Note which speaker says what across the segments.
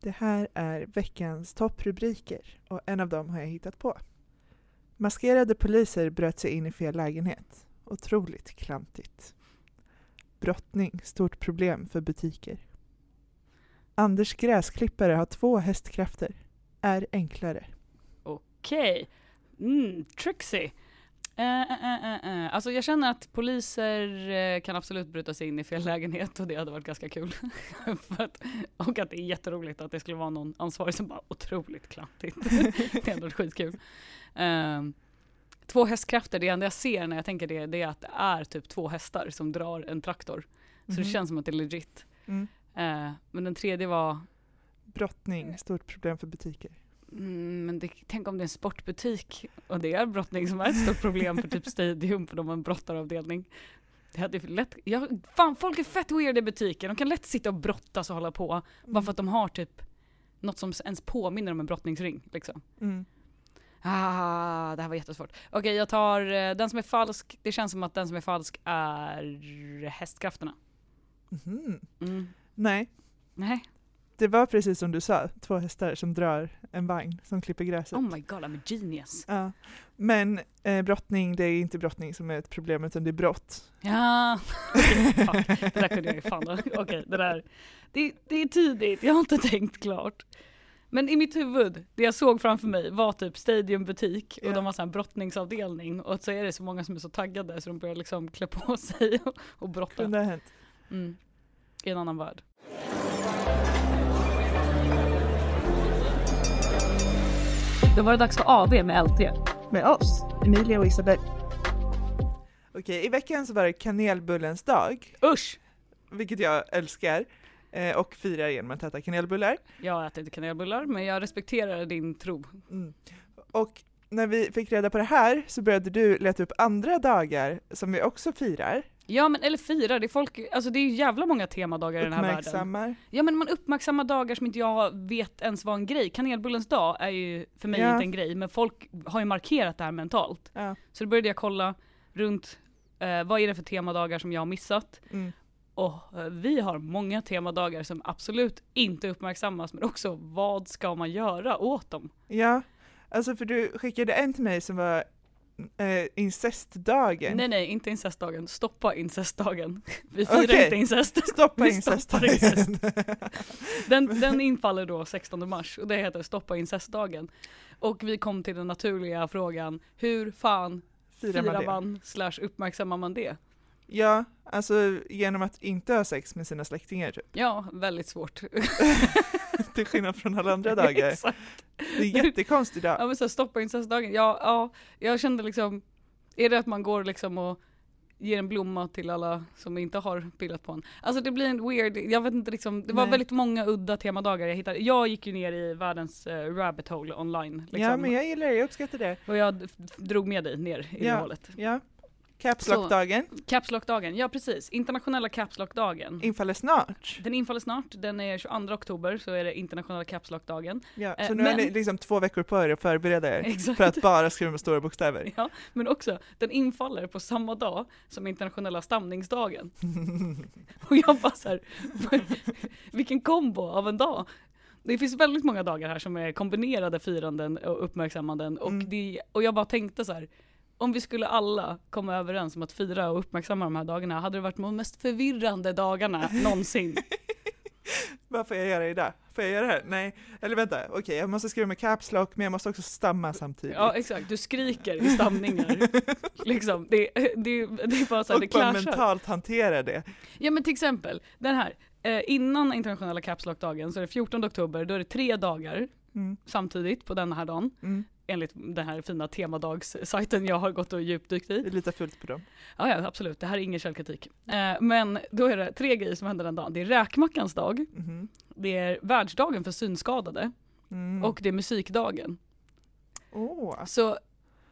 Speaker 1: Det här är veckans topprubriker och en av dem har jag hittat på. Maskerade poliser bröt sig in i fel lägenhet. Otroligt klantigt. Brottning, stort problem för butiker. Anders gräsklippare har två hästkrafter. Är enklare.
Speaker 2: Okej. Mm, tricksy. Eh, eh, eh, eh. Alltså jag känner att poliser eh, kan absolut bryta sig in i fel lägenhet och det hade varit ganska kul. För att, och att det är jätteroligt att det skulle vara någon ansvarig som bara otroligt klantigt. det hade varit skitkul. Eh, två hästkrafter, det enda jag ser när jag tänker det, det är att det är typ två hästar som drar en traktor. Så det
Speaker 1: Mhm.
Speaker 2: känns som att det är legit.
Speaker 1: Mm.
Speaker 2: Eh, men den tredje var
Speaker 1: Brottning, stort problem för butiker.
Speaker 2: Mm, men det, tänk om det är en sportbutik och det är brottning som är ett stort problem för typ Stadium för de har en brottaravdelning. Det hade ju lätt, ja, fan folk är fett weird i butiken, de kan lätt sitta och brottas och hålla på bara för att de har typ något som ens påminner om en brottningsring. Liksom.
Speaker 1: Mm.
Speaker 2: Ah, det här var jättesvårt. Okej jag tar eh, den som är falsk, det känns som att den som är falsk är hästkrafterna.
Speaker 1: Mhm.
Speaker 2: Mm.
Speaker 1: Nej,
Speaker 2: Nej,
Speaker 1: det var precis som du sa, två hästar som drar en vagn som klipper gräset.
Speaker 2: oh my god I'm a genius.
Speaker 1: Ja. Men eh, brottning, det är inte brottning som är ett problem utan det är brott.
Speaker 2: Ja, okej, fuck. Det där kunde jag ju fan ha- Okej, det där. Det, det är tidigt, jag har inte tänkt klart. Men i mitt huvud, det jag såg framför mig var typ stadiumbutik och
Speaker 1: Ja.
Speaker 2: de har så här en brottningsavdelning och så är det så många som är så taggade så de börjar liksom klä på sig och, och brotta.
Speaker 1: Kunde ha hänt.
Speaker 2: Mm. I en annan värld. Då var det dags för AV med LT.
Speaker 1: Med oss, Emilia och Isabel. Okej, i veckan så var det kanelbullens dag,
Speaker 2: Usch!
Speaker 1: vilket jag älskar eh, och firar genom att äta kanelbullar.
Speaker 2: Jag äter inte kanelbullar men jag respekterar din tro.
Speaker 1: Mm. Och när vi fick reda på det här så började du leta upp andra dagar som vi också firar,
Speaker 2: Ja men eller fira, det är, folk, alltså det är ju jävla många temadagar i den här världen.
Speaker 1: uppmärksammar.
Speaker 2: Ja men man uppmärksammar dagar som inte jag vet ens var en grej. Kanelbullens dag är ju för mig
Speaker 1: Ja.
Speaker 2: inte en grej men folk har ju markerat det här mentalt.
Speaker 1: Ja.
Speaker 2: Så då började jag kolla runt eh, vad är det för temadagar som jag har missat.
Speaker 1: Mm.
Speaker 2: Och eh, vi har många temadagar som absolut inte uppmärksammas men också vad ska man göra åt dem?
Speaker 1: Ja, alltså för du skickade en till mig som var eh, incestdagen.
Speaker 2: Nej nej, inte incestdagen. Stoppa incestdagen. Vi firar
Speaker 1: Okej.
Speaker 2: inte incest.
Speaker 1: Stoppa
Speaker 2: vi stoppar
Speaker 1: incestdagen.
Speaker 2: Den, den infaller då 16 mars och det heter Stoppa incestdagen. Och vi kom till den naturliga frågan, hur fan
Speaker 1: Firar
Speaker 2: firar,
Speaker 1: man
Speaker 2: man,
Speaker 1: det?
Speaker 2: slash uppmärksammar man det?
Speaker 1: Ja, alltså genom att inte ha sex med sina släktingar typ.
Speaker 2: Ja, väldigt svårt.
Speaker 1: Till skillnad från alla andra dagar.
Speaker 2: Exakt.
Speaker 1: Det är en jättekonstig dag.
Speaker 2: ja men så här, stoppa incestdagen, ja, ja, jag kände liksom, är det att man går liksom och ger en blomma till alla som inte har pillat på en. Alltså det blir en weird, jag vet inte liksom, det var
Speaker 1: Nej.
Speaker 2: väldigt många udda temadagar jag hittade. Jag gick ju ner i världens eh, rabbit hole online. Liksom.
Speaker 1: Ja, men jag gillar det, jag uppskattar det.
Speaker 2: Och jag f- f- drog med dig ner i
Speaker 1: Ja.
Speaker 2: det hålet.
Speaker 1: Ja. Caps
Speaker 2: Så. Mm.
Speaker 1: Lock-dagen
Speaker 2: Caps Lock-dagen, ja precis. Internationella Caps Lock-dagen.
Speaker 1: infaller snart.
Speaker 2: Den infaller snart, den är 22 oktober så är det internationella Caps Lock-dagen.
Speaker 1: Ja,
Speaker 2: Eh,
Speaker 1: så nu har
Speaker 2: men-
Speaker 1: ni liksom två veckor på er att förbereda er
Speaker 2: Exakt.
Speaker 1: för att bara skriva med stora bokstäver.
Speaker 2: Ja, men också, den infaller på samma dag som internationella stamningsdagen. Och jag bara såhär, vilken kombo av en dag! Det finns väldigt många dagar här som är kombinerade firanden och uppmärksammanden och,
Speaker 1: Mm.
Speaker 2: det, och jag bara tänkte så här. Om vi skulle alla komma överens om att fira och uppmärksamma de här dagarna hade det varit de mest förvirrande dagarna någonsin.
Speaker 1: Vad får jag göra idag? Får jag göra det här? Nej, eller vänta, okej jag måste skriva med Caps Lock men jag måste också stamma samtidigt.
Speaker 2: Ja exakt, du skriker i stamningar. liksom, det, det, det är bara så här,
Speaker 1: och
Speaker 2: det
Speaker 1: bara
Speaker 2: clashar.
Speaker 1: mentalt hantera det.
Speaker 2: Ja men till exempel, den här. Eh, innan internationella Caps Lock-dagen så är det 14 oktober, då är det tre dagar
Speaker 1: Mm,
Speaker 2: samtidigt på den här dagen.
Speaker 1: mm.
Speaker 2: Enligt den här fina temadagssajten jag har gått och djupdykt i.
Speaker 1: Vi litar fullt på dem.
Speaker 2: Ja, ja absolut, det här är ingen källkritik. Eh, men då är det tre grejer som händer den dagen. Det är räkmackans dag,
Speaker 1: Mhm.
Speaker 2: det är världsdagen för synskadade
Speaker 1: Mm.
Speaker 2: och det är musikdagen.
Speaker 1: Åh, alltså,
Speaker 2: Så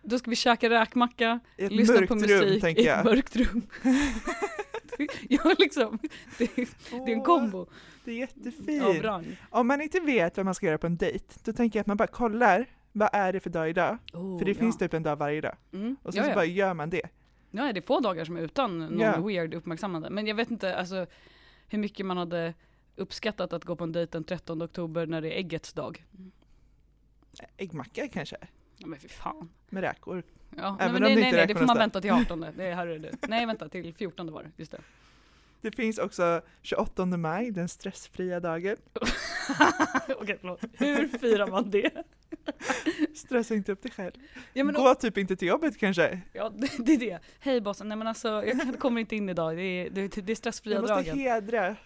Speaker 2: då ska vi käka räkmacka,
Speaker 1: i ett
Speaker 2: lyssna
Speaker 1: mörkt
Speaker 2: på musik
Speaker 1: rum tänker
Speaker 2: i ett
Speaker 1: jag.
Speaker 2: mörkt rum. jag liksom, det, det är en
Speaker 1: Åh,
Speaker 2: kombo
Speaker 1: Det är
Speaker 2: av
Speaker 1: jättefint.
Speaker 2: rang.
Speaker 1: Om man inte vet vad man ska göra på en dejt, då tänker jag att man bara kollar, vad är det för dag idag?
Speaker 2: Oh,
Speaker 1: För det
Speaker 2: ja.
Speaker 1: finns typ en dag varje dag.
Speaker 2: Mm.
Speaker 1: Och sen
Speaker 2: ja,
Speaker 1: så
Speaker 2: ja.
Speaker 1: bara gör man det.
Speaker 2: ja, det är få dagar som är utan någon
Speaker 1: Ja.
Speaker 2: weird uppmärksammande. Men jag vet inte alltså, hur mycket man hade uppskattat att gå på en dejt den 13 oktober när det är äggets dag.
Speaker 1: Äggmacka kanske?
Speaker 2: Ja, men fy fan.
Speaker 1: Med räkor?
Speaker 2: Ja, nej,
Speaker 1: Även om
Speaker 2: men nej,
Speaker 1: det
Speaker 2: nej,
Speaker 1: inte
Speaker 2: nej, det får man
Speaker 1: räknas
Speaker 2: vänta till 18. Det är, här är det. Nej, vänta till 14 var det. Just det.
Speaker 1: Det finns också 28 maj, den stressfria dagen.
Speaker 2: Okej, förlåt. Hur firar man det?
Speaker 1: Stressa inte upp dig själv.
Speaker 2: Ja, men,
Speaker 1: Gå typ inte till jobbet kanske.
Speaker 2: ja, det det är det. Hej bossen, nej men alltså jag kan- kommer inte in idag. Det är, det, det är stressfria
Speaker 1: Jag måste
Speaker 2: dragen.
Speaker 1: hedra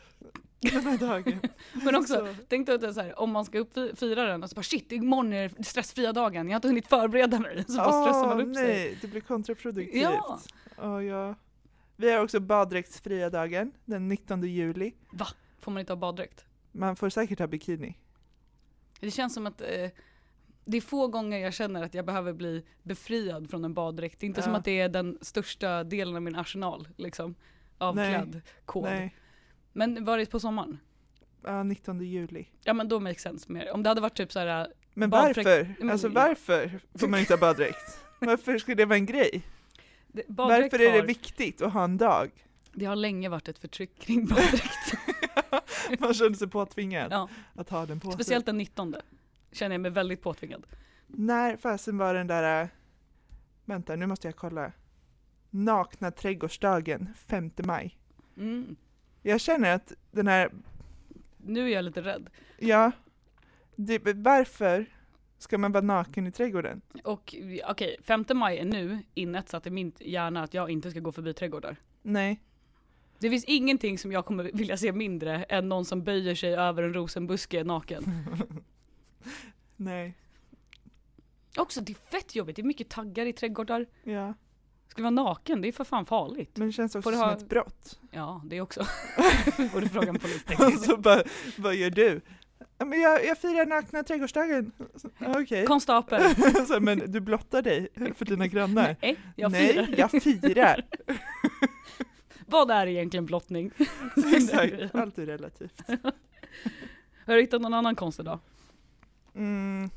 Speaker 1: den här dagen.
Speaker 2: Men också,
Speaker 1: Så.
Speaker 2: tänk dig att det är så här, om man ska upp fira den och så bara shit, imorgon är det stressfria dagen. Jag har inte hunnit förbereda mig. Så bara stressar man
Speaker 1: Åh,
Speaker 2: upp sig.
Speaker 1: Ah, nej, det blir kontraproduktivt.
Speaker 2: Ja.
Speaker 1: Åh, ja. Vi har också baddräktsfria dagen den 19 juli.
Speaker 2: Får man inte ha baddräkt?
Speaker 1: Man får säkert ha bikini.
Speaker 2: Det känns som att eh, det är få gånger jag känner att jag behöver bli befriad från en baddräkt. Det är inte som
Speaker 1: Ja.
Speaker 2: att det är den största delen av min arsenal liksom, av
Speaker 1: Nej.
Speaker 2: klädkod.
Speaker 1: Nej,
Speaker 2: Men var det på sommaren?
Speaker 1: ja, 19 juli.
Speaker 2: Ja men då makes sense mer. Om det hade varit typ så här,
Speaker 1: Men
Speaker 2: Baddräkt-
Speaker 1: varför?
Speaker 2: men-
Speaker 1: Alltså varför får man inte ha baddräkt? Varför ska det vara en grej?
Speaker 2: det- baddräkt
Speaker 1: Varför är det
Speaker 2: har,
Speaker 1: viktigt att ha en dag?
Speaker 2: det har länge varit ett förtryck kring baddräkt.
Speaker 1: Man känner sig påtvingad
Speaker 2: Ja.
Speaker 1: att ha den på sig.
Speaker 2: Speciellt den 19 känner jag mig väldigt påtvingad.
Speaker 1: När fasen var den där, äh, vänta nu måste jag kolla, nakna trädgårdsdagen 5 maj.
Speaker 2: Mm.
Speaker 1: Jag känner att den här,
Speaker 2: Nu är jag lite rädd.
Speaker 1: ja, det, varför ska man vara naken i trädgården?
Speaker 2: Och okej, 5 maj är nu inetsat i min hjärna att jag inte ska gå förbi trädgårdar.
Speaker 1: Nej,
Speaker 2: Det finns ingenting som jag kommer vilja se mindre än någon som böjer sig över en rosenbuske naken.
Speaker 1: nej,
Speaker 2: Också det är fett jobbigt, det är mycket taggar i trädgårdar.
Speaker 1: ja.
Speaker 2: Ska du vara naken? Det är för fan farligt.
Speaker 1: Men det känns också
Speaker 2: Får du
Speaker 1: som
Speaker 2: ha-
Speaker 1: ett brott.
Speaker 2: Ja, det också. Borde fråga en
Speaker 1: Och
Speaker 2: polistekniker.
Speaker 1: så bara, vad gör du? Ja, Men jag, jag firar nakna trädgårdsdagen. Ja, Okej.
Speaker 2: Konstapel.
Speaker 1: Så här, Men du blottar dig för dina grannar.
Speaker 2: Nej, jag
Speaker 1: nej,
Speaker 2: firar.
Speaker 1: jag firar.
Speaker 2: Vad är egentligen blottning?
Speaker 1: Exakt, allt är relativt.
Speaker 2: Har du hittat någon annan konst idag?
Speaker 1: Mm.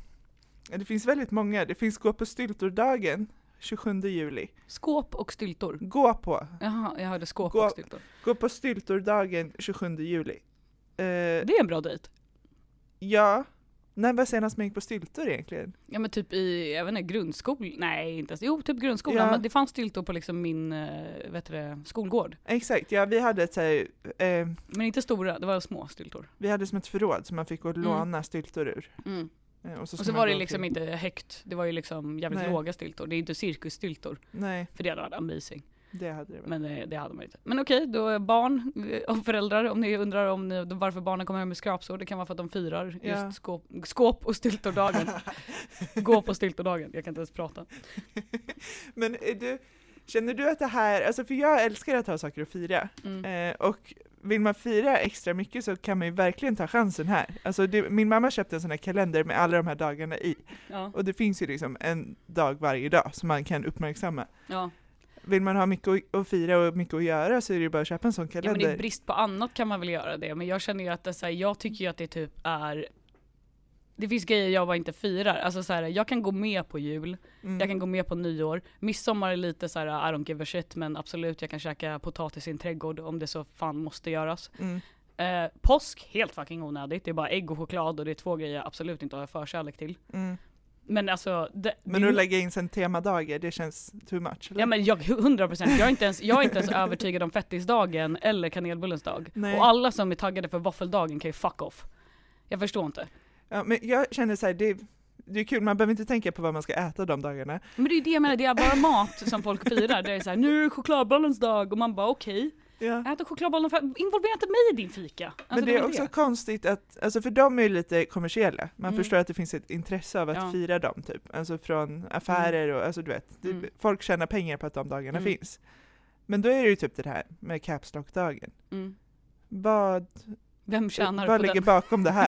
Speaker 1: Ja, Det finns väldigt många. Det finns gå på styltordagen 27 juli.
Speaker 2: Skåp och styltor.
Speaker 1: Gå på.
Speaker 2: Jaha, jag hörde skåp
Speaker 1: Gå-
Speaker 2: och styltor.
Speaker 1: Gå på styltordagen 27 juli. Eh,
Speaker 2: Det är en bra dejt.
Speaker 1: ja, när var senast man gick på styltor egentligen?
Speaker 2: Ja men typ i, jag vet inte, grundskolan? Nej inte ens, jo typ grundskolan.
Speaker 1: Ja.
Speaker 2: Men det fanns styltor på liksom min, eh, vet du, det, skolgård.
Speaker 1: Exakt, ja vi hade ett så här, eh,
Speaker 2: Men inte stora, det var små styltor.
Speaker 1: vi hade som ett förråd som man fick gå och
Speaker 2: Mm.
Speaker 1: låna styltor ur.
Speaker 2: Mm.
Speaker 1: Eh, så,
Speaker 2: Och
Speaker 1: skulle
Speaker 2: så
Speaker 1: man
Speaker 2: var det
Speaker 1: gå
Speaker 2: liksom
Speaker 1: till-
Speaker 2: inte högt, det var ju liksom jävligt
Speaker 1: Nej.
Speaker 2: låga styltor. Det är inte cirkusstyltor,
Speaker 1: Nej,
Speaker 2: för det hade varit amazing.
Speaker 1: det hade det väl.
Speaker 2: Men eh, det hade man inte. Men okej, då är barn eh, och föräldrar, om ni undrar om ni, varför barnen kommer hem med skrapsår, det kan vara för att de firar
Speaker 1: Ja.
Speaker 2: just skåp, skåp och styltordagen. Gå på styltordagen, jag kan inte ens prata.
Speaker 1: Men är du, känner du att det här, alltså för jag älskar att ha saker att fira.
Speaker 2: Mm.
Speaker 1: Eh, och vill man fira extra mycket så kan man ju verkligen ta chansen här. Alltså det, min mamma köpte en sån här kalender med alla de här dagarna i.
Speaker 2: Ja,
Speaker 1: Och det finns ju liksom en dag varje dag som man kan uppmärksamma.
Speaker 2: ja.
Speaker 1: Vill man ha mycket att- att fira och mycket att göra så är det ju bara att köpa en sån
Speaker 2: Ja, men
Speaker 1: kalender.
Speaker 2: i brist på annat kan man väl göra det. Men jag känner ju att det, är så här, jag tycker ju att det typ är det finns grejer jag bara inte firar. Alltså så här, jag kan gå med på jul,
Speaker 1: Mm.
Speaker 2: jag kan gå med på nyår. Midsommar är lite så här, I don't give a shit men absolut jag kan käka potatis i en trädgård om det så fan måste göras.
Speaker 1: Mm.
Speaker 2: Eh, påsk, helt fucking onödigt. Det är bara ägg och choklad och det är två grejer jag absolut inte har förkärlek till.
Speaker 1: Mm.
Speaker 2: Men alltså... Det,
Speaker 1: Men
Speaker 2: det,
Speaker 1: att lägga in sen temadagar, det känns too much. eller?
Speaker 2: Ja men jag, 100 procent, jag, är inte ens- jag är inte ens övertygad om fettisdagen eller kanelbullens dag.
Speaker 1: Nej.
Speaker 2: Och alla som är taggade för våffeldagen kan ju fuck off. Jag förstår inte.
Speaker 1: ja, men jag känner så här, det, det är kul, man behöver inte tänka på vad man ska äta de dagarna.
Speaker 2: Men det är ju det jag menar, det är bara mat som folk firar. Det är såhär, nu är det chokladbollens dag och man bara okej,
Speaker 1: Ja.
Speaker 2: ät en chokladbollen, för involvera inte mig i din fika. Alltså,
Speaker 1: Men det
Speaker 2: var
Speaker 1: är
Speaker 2: väl
Speaker 1: också konstigt att, alltså för de är ju lite kommersiella, man
Speaker 2: Mm.
Speaker 1: förstår att det finns ett intresse av att
Speaker 2: Ja.
Speaker 1: fira dem typ, alltså från affärer och alltså du vet, det,
Speaker 2: Mm.
Speaker 1: folk tjänar pengar på att de dagarna
Speaker 2: Mm.
Speaker 1: finns. Men då är det ju typ det här med Caps Lock-dagen.
Speaker 2: Mm.
Speaker 1: Vad,
Speaker 2: Vem tjänar
Speaker 1: vad
Speaker 2: på
Speaker 1: ligger
Speaker 2: den?
Speaker 1: bakom det här?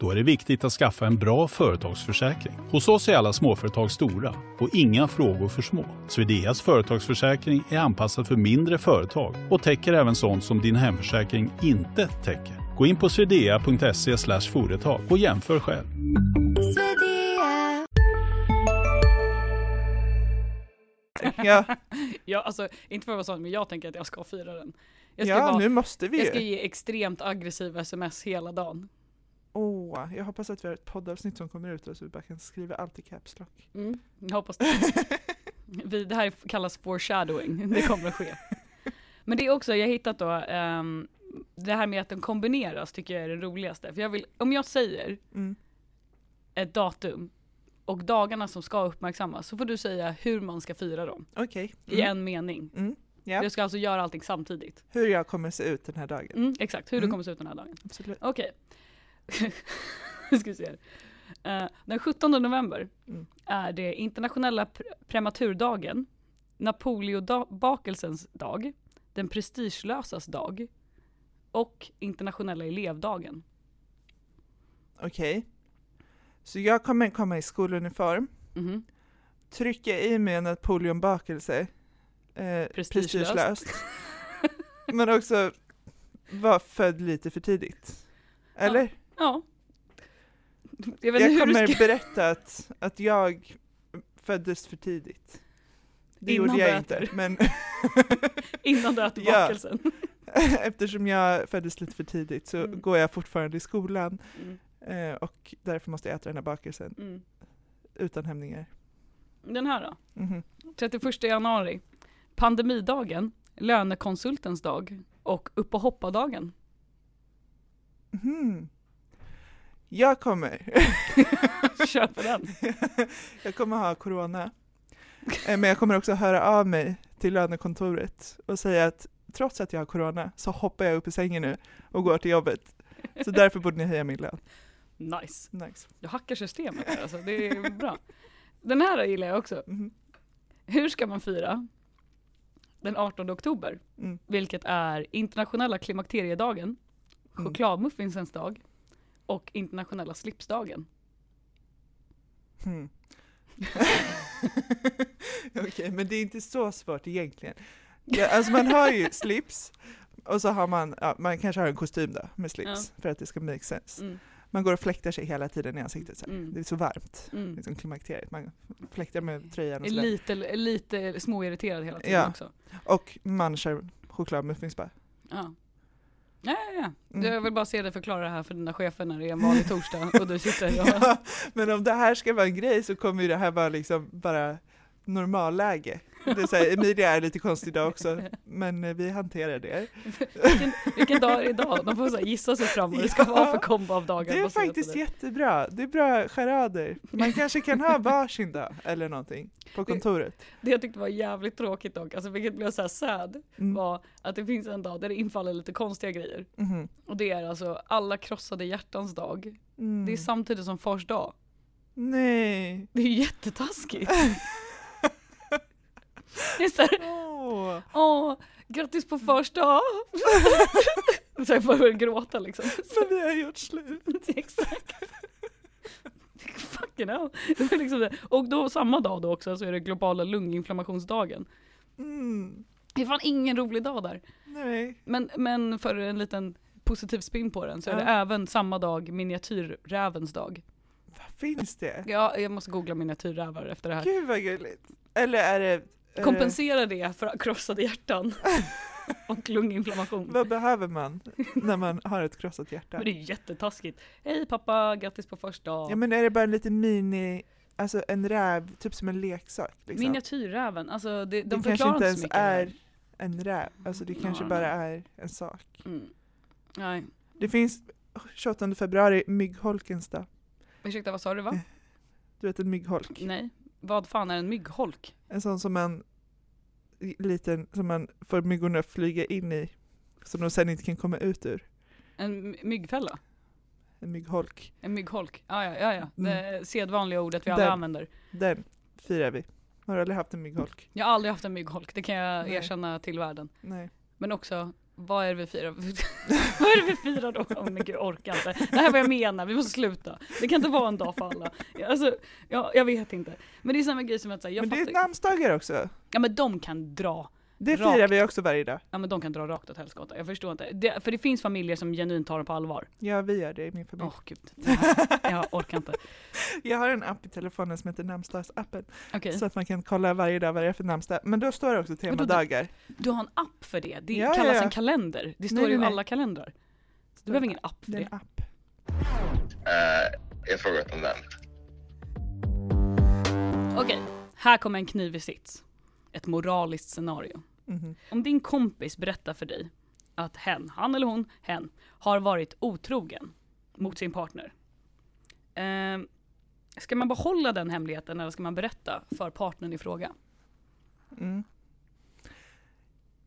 Speaker 3: Då är det viktigt att skaffa en bra företagsförsäkring. Hos oss är alla småföretag stora och inga frågor för små. Swedeas företagsförsäkring är anpassad för mindre företag och täcker även sånt som din hemförsäkring inte täcker. Gå in på swedea.se slash företag och jämför själv.
Speaker 1: Ja,
Speaker 2: Ja, alltså, inte för att vara sån, men jag tänker att jag ska fira den. Jag ska,
Speaker 1: ja
Speaker 2: vara,
Speaker 1: nu måste vi
Speaker 2: jag ska
Speaker 1: ju.
Speaker 2: ge extremt aggressiva sms hela dagen.
Speaker 1: Åh, jag hoppas att vi har ett poddavsnitt som kommer ut och så vi bara kan skriva allt i caps lock.
Speaker 2: Mm, jag hoppas det. Vi, det här kallas foreshadowing, det kommer att ske. Men det är också, jag har hittat då, ehm, det här med att den kombineras tycker jag är det roligaste. För jag vill, om jag säger
Speaker 1: Mm.
Speaker 2: ett datum och dagarna som ska uppmärksammas så får du säga hur man ska fira dem
Speaker 1: Okej.
Speaker 2: i
Speaker 1: Mm.
Speaker 2: en mening.
Speaker 1: Mm. Ja.
Speaker 2: Du ska alltså göra allting samtidigt.
Speaker 1: Hur jag kommer se ut den här dagen.
Speaker 2: Mm, exakt, hur
Speaker 1: Mm.
Speaker 2: du kommer se ut den här dagen.
Speaker 1: Absolut.
Speaker 2: Okej. Nu ska vi se här. Eh, den 17 november
Speaker 1: Mm.
Speaker 2: är det internationella pr- prematurdagen, Napoleonbakelsens dag, den prestigelösas dag och internationella elevdagen.
Speaker 1: Okej. Så jag kommer komma i skoluniform, Mm-hmm.
Speaker 2: Mhm.
Speaker 1: trycka i mig en napoleonbakelse, eh,
Speaker 2: Prestigelöst.
Speaker 1: prestigelöst, men också vara född lite för tidigt. Eller?
Speaker 2: Ja. Jag vet
Speaker 1: Jag
Speaker 2: inte hur
Speaker 1: kommer
Speaker 2: du ska...
Speaker 1: berätta att, att jag föddes för tidigt. Det
Speaker 2: Innan
Speaker 1: gjorde
Speaker 2: du
Speaker 1: jag
Speaker 2: äter.
Speaker 1: inte, men
Speaker 2: Innan du äter
Speaker 1: Ja.
Speaker 2: bakelsen.
Speaker 1: eftersom jag föddes lite för tidigt så
Speaker 2: Mm.
Speaker 1: går jag fortfarande i skolan
Speaker 2: Mm,
Speaker 1: eh, och därför måste jag äta den här bakelsen
Speaker 2: mm.
Speaker 1: utan hämningar.
Speaker 2: Den här då?
Speaker 1: Mhm.
Speaker 2: 31 januari. Pandemidagen, lönekonsultens dag och upp och hoppa-dagen.
Speaker 1: Mhm. Jag kommer,
Speaker 2: Kör på den.
Speaker 1: jag kommer ha corona, eh, men jag kommer också höra av mig till lönekontoret och säga att trots att jag har corona så hoppar jag upp i sängen nu och går till jobbet. Så därför borde ni höja min lön.
Speaker 2: Nice.
Speaker 1: Nice.
Speaker 2: Du hackar systemet här alltså, det är bra. Den här gillar jag också.
Speaker 1: Mhm.
Speaker 2: Hur ska man fira den 18 oktober?
Speaker 1: Mm.
Speaker 2: Vilket är internationella klimakteriedagen,
Speaker 1: Mm.
Speaker 2: chokladmuffinsens dag och internationella slipsdagen.
Speaker 1: Hmm. Okej, men det är inte så svårt egentligen. Ja, alltså man har ju slips och så har man, ja, man kanske har en kostym då med slips för att det ska make sense.
Speaker 2: Mm,
Speaker 1: Man går och fläktar sig hela tiden i ansiktet så här.
Speaker 2: Mm.
Speaker 1: Det är så varmt,
Speaker 2: mm.
Speaker 1: liksom klimakteriet. Man fläktar med tröjan och
Speaker 2: Är
Speaker 1: så där.
Speaker 2: lite, är lite småirriterad hela tiden
Speaker 1: Ja.
Speaker 2: också.
Speaker 1: Och man kör chokladmuffins bara.
Speaker 2: Ja. Ja, ja, ja.
Speaker 1: Mm.
Speaker 2: Jag vill bara se dig förklara det här för dina chefer när det är en vanlig torsdag och du sitter och...
Speaker 1: Ja, men om det här ska vara en grej så kommer ju det här vara liksom bara normalläge. Det är så här, Emilia är lite konstig idag också, men eh, vi hanterar det.
Speaker 2: vilken, vilken dag är det idag? De får så här gissa sig fram vad det ska
Speaker 1: Ja.
Speaker 2: vara för kombo av dagar.
Speaker 1: Det är
Speaker 2: baserat på
Speaker 1: faktiskt
Speaker 2: det.
Speaker 1: jättebra. Det är bra charader. Man kanske kan ha varsin dag eller någonting på kontoret.
Speaker 2: Det jag tyckte var jävligt tråkigt dock, alltså vilket blev såhär sad,
Speaker 1: Mm.
Speaker 2: var att det finns en dag där det infaller lite konstiga grejer.
Speaker 1: Mhm.
Speaker 2: Och det är alltså alla krossade hjärtans dag.
Speaker 1: Mm.
Speaker 2: Det är samtidigt som fars dag.
Speaker 1: Nej.
Speaker 2: Det är ju jättetaskigt. Det är såhär,
Speaker 1: Åh.
Speaker 2: åh, grattis på fars dag! Så jag bara börjar gråta liksom.
Speaker 1: Men vi har gjort slut.
Speaker 2: Exakt. Fucking hell. Det var liksom det. Och då samma dag då också så är det globala lunginflammationsdagen.
Speaker 1: Mm.
Speaker 2: Det är fan ingen rolig dag där.
Speaker 1: Nej.
Speaker 2: Men, men för en liten positiv spin på den så är
Speaker 1: Ja.
Speaker 2: det även samma dag miniatyrrävens dag.
Speaker 1: Vad finns det?
Speaker 2: Ja, jag måste googla miniatyrrävar efter det här.
Speaker 1: Gud vad gulligt. Eller är det... eh, är det-
Speaker 2: Kompensera det för krossade hjärtan och lunginflammation.
Speaker 1: Vad behöver man när man har ett krossat hjärta?
Speaker 2: Men det är ju jättetaskigt. Hej pappa, grattis på första dag.
Speaker 1: Ja men är det bara en liten mini, alltså en räv, typ som en leksak? Liksom.
Speaker 2: Miniatyrräven, alltså det, de
Speaker 1: det kanske
Speaker 2: förklarar
Speaker 1: inte
Speaker 2: inte
Speaker 1: ens
Speaker 2: så mycket.
Speaker 1: är en räv, alltså det kanske
Speaker 2: Ja,
Speaker 1: bara
Speaker 2: nej.
Speaker 1: är en sak.
Speaker 2: Mm. Nej,
Speaker 1: Det finns 28 februari, myggholkens dag.
Speaker 2: ursäkta vad sa du
Speaker 1: Mm.
Speaker 2: va?
Speaker 1: Du vet en myggholk?
Speaker 2: Nej, vad fan är en myggholk?
Speaker 1: En sån som man liten, som man får myggorna att flyga in i, som de sen inte kan komma ut ur.
Speaker 2: En my- myggfälla?
Speaker 1: En myggholk.
Speaker 2: En myggholk? Ah, ja, ja, ja. Det sedvanliga ordet vi alla
Speaker 1: Mm. Där.
Speaker 2: använder.
Speaker 1: Den firar vi. Har du aldrig haft en myggholk?
Speaker 2: Jag har aldrig haft en myggholk, det kan jag
Speaker 1: Nej.
Speaker 2: erkänna till världen.
Speaker 1: Nej.
Speaker 2: Men också, vad är det vi firar? vad är det vi firar då? Åh men gud, jag orkar inte. Det här är vad jag menar, vi måste sluta. Det kan inte vara en dag för alla. Alltså, ja, jag vet inte. Men det är samma grej som att säga, jag
Speaker 1: Men det är
Speaker 2: fattar.
Speaker 1: namnsdagar också.
Speaker 2: Ja men de kan dra
Speaker 1: Det
Speaker 2: Rakt.
Speaker 1: firar vi också varje dag.
Speaker 2: Ja men de kan dra rakt åt helskotta, jag förstår inte. Det, för det finns familjer som genuint tar det på allvar.
Speaker 1: Ja, vi gör det i min
Speaker 2: Åh
Speaker 1: familj.
Speaker 2: gud, det här, jag orkar inte.
Speaker 1: Jag har en app i telefonen som heter namnsdagsappen,
Speaker 2: Okej,
Speaker 1: så att man kan kolla varje dag vad det är för namnsdag. Men då står det också temadagar.
Speaker 2: du har en app för det, det
Speaker 1: Ja, ja,
Speaker 2: kallas
Speaker 1: ja.
Speaker 2: en kalender. Det står
Speaker 1: Nej,
Speaker 2: ju
Speaker 1: nej,
Speaker 2: i
Speaker 1: nej.
Speaker 2: alla kalendrar. Så du behöver ingen app för
Speaker 1: Det är
Speaker 2: det.
Speaker 1: en app.
Speaker 4: Eh, jag frågar inte om den.
Speaker 2: Okej, här kommer en knivig sits. Ett moraliskt scenario.
Speaker 1: Mhm.
Speaker 2: Om din kompis berättar för dig att hen, han eller hon, hen, har varit otrogen mot sin partner. Ehm, ska man behålla den hemligheten eller ska man berätta för partnern i fråga?
Speaker 1: Mm.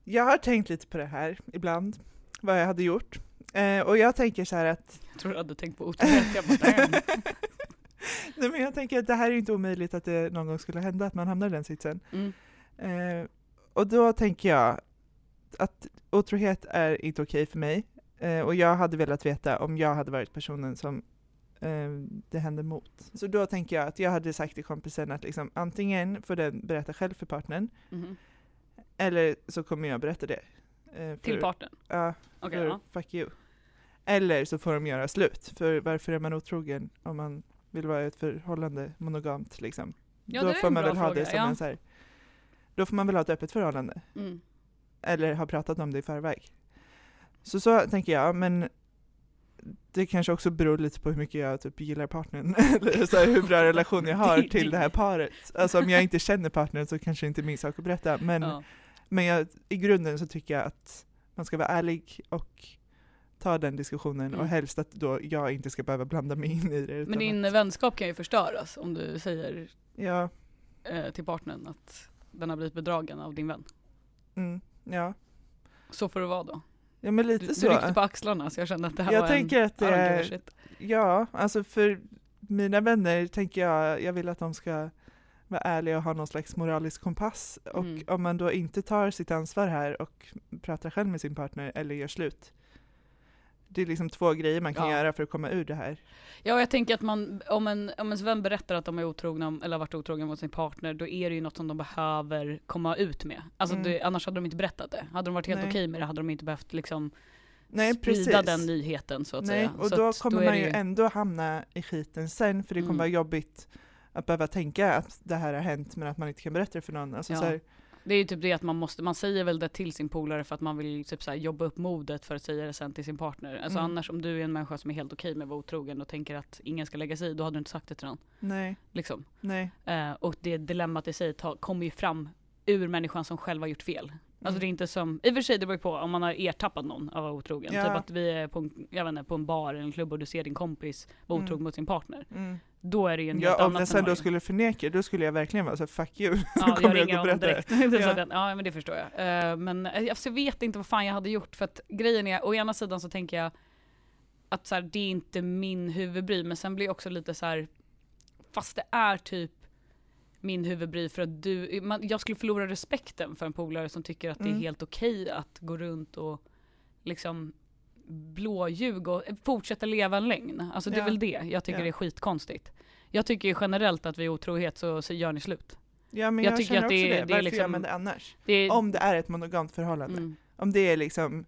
Speaker 1: Jag har tänkt lite på det här ibland, vad jag hade gjort. Eh, och jag tänker så här att,
Speaker 2: Jag tror du hade tänkt på otrohet. Jag bara, damn.
Speaker 1: nej men jag tänker att det här är inte omöjligt att det någon gång skulle hända, att man hamnar i den sitsen.
Speaker 2: Mm.
Speaker 1: Eh, och då tänker jag att otrohet är inte okej för mig. Eh, och jag hade velat veta om jag hade varit personen som eh, det hände mot. Så då tänker jag att jag hade sagt till kompisen att liksom, antingen får den berätta själv för partnern,
Speaker 2: Mhm.
Speaker 1: eller så kommer jag berätta det. Eh,
Speaker 2: Till
Speaker 1: för-
Speaker 2: partnern?
Speaker 1: Ja,
Speaker 2: Okej,
Speaker 1: för
Speaker 2: ja.
Speaker 1: fuck you. Eller så får de göra slut, för varför är man otrogen om man vill vara i ett förhållande monogamt liksom?
Speaker 2: Ja,
Speaker 1: då
Speaker 2: det är
Speaker 1: får
Speaker 2: en
Speaker 1: man
Speaker 2: bra
Speaker 1: väl ha
Speaker 2: fråga,
Speaker 1: det som
Speaker 2: ja.
Speaker 1: en så här, Då får man väl ha ett öppet förhållande,
Speaker 2: Mm.
Speaker 1: eller ha pratat om det i förväg. Så så tänker jag, men det kanske också beror lite på hur mycket jag typ gillar partnern, eller så här, hur bra relation jag har
Speaker 2: Det-
Speaker 1: till
Speaker 2: det-
Speaker 1: det här paret. Alltså om jag inte känner partnern så kanske det inte är min sak att berätta, men
Speaker 2: Ja.
Speaker 1: men jag, i grunden så tycker jag att man ska vara ärlig och ta den diskussionen
Speaker 2: Mm.
Speaker 1: och helst att då jag inte ska behöva blanda mig in i det. utan
Speaker 2: Men din
Speaker 1: att,
Speaker 2: vänskap kan ju förstöras om du säger
Speaker 1: ja,
Speaker 2: eh, till partnern att den har blivit bedragen av din vän.
Speaker 1: mm, ja.
Speaker 2: Så får det vara då.
Speaker 1: ja, men lite
Speaker 2: Du, du
Speaker 1: så.
Speaker 2: ryckte på axlarna så jag kände att det här
Speaker 1: jag
Speaker 2: var
Speaker 1: tänker att
Speaker 2: en... I
Speaker 1: det
Speaker 2: don't give a
Speaker 1: är,
Speaker 2: shit.
Speaker 1: ja, alltså för mina vänner tänker jag, jag vill att de ska vara ärliga och ha någon slags moralisk kompass. Och
Speaker 2: Mm.
Speaker 1: om man då inte tar sitt ansvar här och pratar själv med sin partner eller gör slut. Det är liksom två grejer man kan
Speaker 2: Ja.
Speaker 1: göra för att komma ur det här.
Speaker 2: Ja, och jag tänker att man, om, en, om ens vän berättar att de är otrogna eller har varit otrogna mot sin partner, då är det ju något som de behöver komma ut med. Alltså,
Speaker 1: Mm.
Speaker 2: det, annars hade de inte berättat det. Hade de varit helt
Speaker 1: Nej.
Speaker 2: okej med det hade de inte behövt liksom
Speaker 1: Nej,
Speaker 2: sprida
Speaker 1: precis.
Speaker 2: den nyheten så att
Speaker 1: Nej,
Speaker 2: säga.
Speaker 1: och
Speaker 2: så
Speaker 1: då
Speaker 2: att
Speaker 1: kommer
Speaker 2: är
Speaker 1: man
Speaker 2: det
Speaker 1: ju ändå hamna i skiten sen, för det kommer
Speaker 2: Mm.
Speaker 1: vara jobbigt att behöva tänka att det här har hänt, men att man inte kan berätta det för någon. Alltså,
Speaker 2: Ja.
Speaker 1: så här,
Speaker 2: Det är ju typ det att man måste, man säger väl det till sin polare för att man vill typ så här jobba upp modet för att säga det sen till sin partner. Alltså
Speaker 1: Mm.
Speaker 2: annars om du är en människa som är helt okej med att vara otrogen och tänker att ingen ska lägga sig i, då hade du inte sagt det till någon.
Speaker 1: nej,
Speaker 2: Liksom.
Speaker 1: nej.
Speaker 2: Eh, och det dilemmat i sig ta, kommer ju fram ur människan som själv har gjort fel. Alltså det är inte som, i och för sig det beror ju på om man har ertappat någon av att vara otrogen.
Speaker 1: Ja.
Speaker 2: Typ att vi är på en, jag vet inte, på en bar eller en klubb och du ser din kompis vara otrogen
Speaker 1: Mm.
Speaker 2: mot sin partner.
Speaker 1: Mm.
Speaker 2: Då är det ju en helt
Speaker 1: Ja, om
Speaker 2: annan
Speaker 1: jag sen då skulle förneka, då skulle jag verkligen vara så här, fuck you.
Speaker 2: Ja,
Speaker 1: kommer jag gå
Speaker 2: jag ringer
Speaker 1: och
Speaker 2: honom direkt.
Speaker 1: berätta
Speaker 2: Det sa
Speaker 1: Ja.
Speaker 2: den. ja, men det förstår jag. Eh, men eh, alltså, jag vet inte vad fan jag hade gjort. För att grejen är, å ena sidan så tänker jag att så här, det är inte min huvudbry. Men sen blir jag också lite så här, fast det är typ min huvudbry för att du, man, jag skulle förlora respekten för en polare som tycker att det är
Speaker 1: Mm.
Speaker 2: helt okej att gå runt och liksom blåljuga och fortsätta leva en lögn. Alltså det är
Speaker 1: Ja.
Speaker 2: väl det jag tycker
Speaker 1: Ja.
Speaker 2: det är skitkonstigt. Jag tycker ju generellt att vid otrohet så, så gör ni slut.
Speaker 1: Ja, men
Speaker 2: Jag
Speaker 1: jag,
Speaker 2: tycker
Speaker 1: känner
Speaker 2: att det
Speaker 1: också
Speaker 2: är-
Speaker 1: det.
Speaker 2: det är
Speaker 1: Varför gör
Speaker 2: liksom-
Speaker 1: man det annars?
Speaker 2: Det är,
Speaker 1: Om det är ett monogamt förhållande.
Speaker 2: Mm.
Speaker 1: Om det är liksom,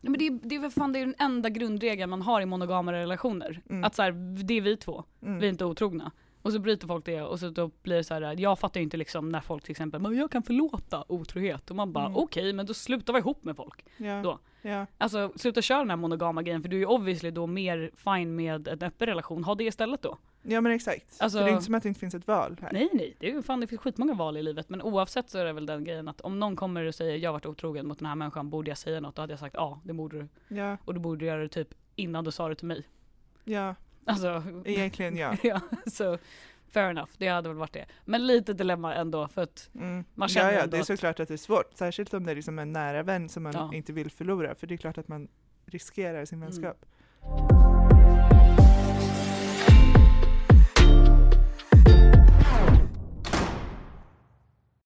Speaker 2: Ja, men det, är, det, är, väl fan, det är den enda grundregeln man har i monogama relationer.
Speaker 1: Mm.
Speaker 2: Att så här, det är vi två,
Speaker 1: mm,
Speaker 2: vi är inte otrogna. Och så bryter folk det och så då blir det så här, jag fattar ju inte liksom när folk till exempel, men jag kan förlåta otrohet. Och man bara
Speaker 1: Mm.
Speaker 2: okej, men då slutar vara ihop med folk.
Speaker 1: ja,
Speaker 2: då.
Speaker 1: ja,
Speaker 2: Alltså sluta köra den här monogama grejen för du är ju obviously då mer fine med en öppen relation. Ha det istället då.
Speaker 1: ja, men exakt.
Speaker 2: Alltså-
Speaker 1: För det är inte som att det inte finns ett val här.
Speaker 2: Nej nej, det är ju fan det finns skitmånga val i livet men oavsett så är det väl den grejen att om någon kommer och säger jag har varit otrogen mot den här människan, borde jag säga något? Då hade jag sagt ja, det borde du.
Speaker 1: Ja,
Speaker 2: Och du borde göra det typ innan du sa det till mig.
Speaker 1: ja,
Speaker 2: Alltså
Speaker 1: egentligen ja.
Speaker 2: Ja, så fair enough, det hade väl varit det. Men lite dilemma ändå för att
Speaker 1: Mm.
Speaker 2: Man känner
Speaker 1: ja, ja,
Speaker 2: ändå
Speaker 1: det är
Speaker 2: att-
Speaker 1: såklart att det är svårt, särskilt om det är liksom en nära vän som man
Speaker 2: Ja. Mm.
Speaker 1: inte vill förlora, för det är klart att man riskerar sin vänskap.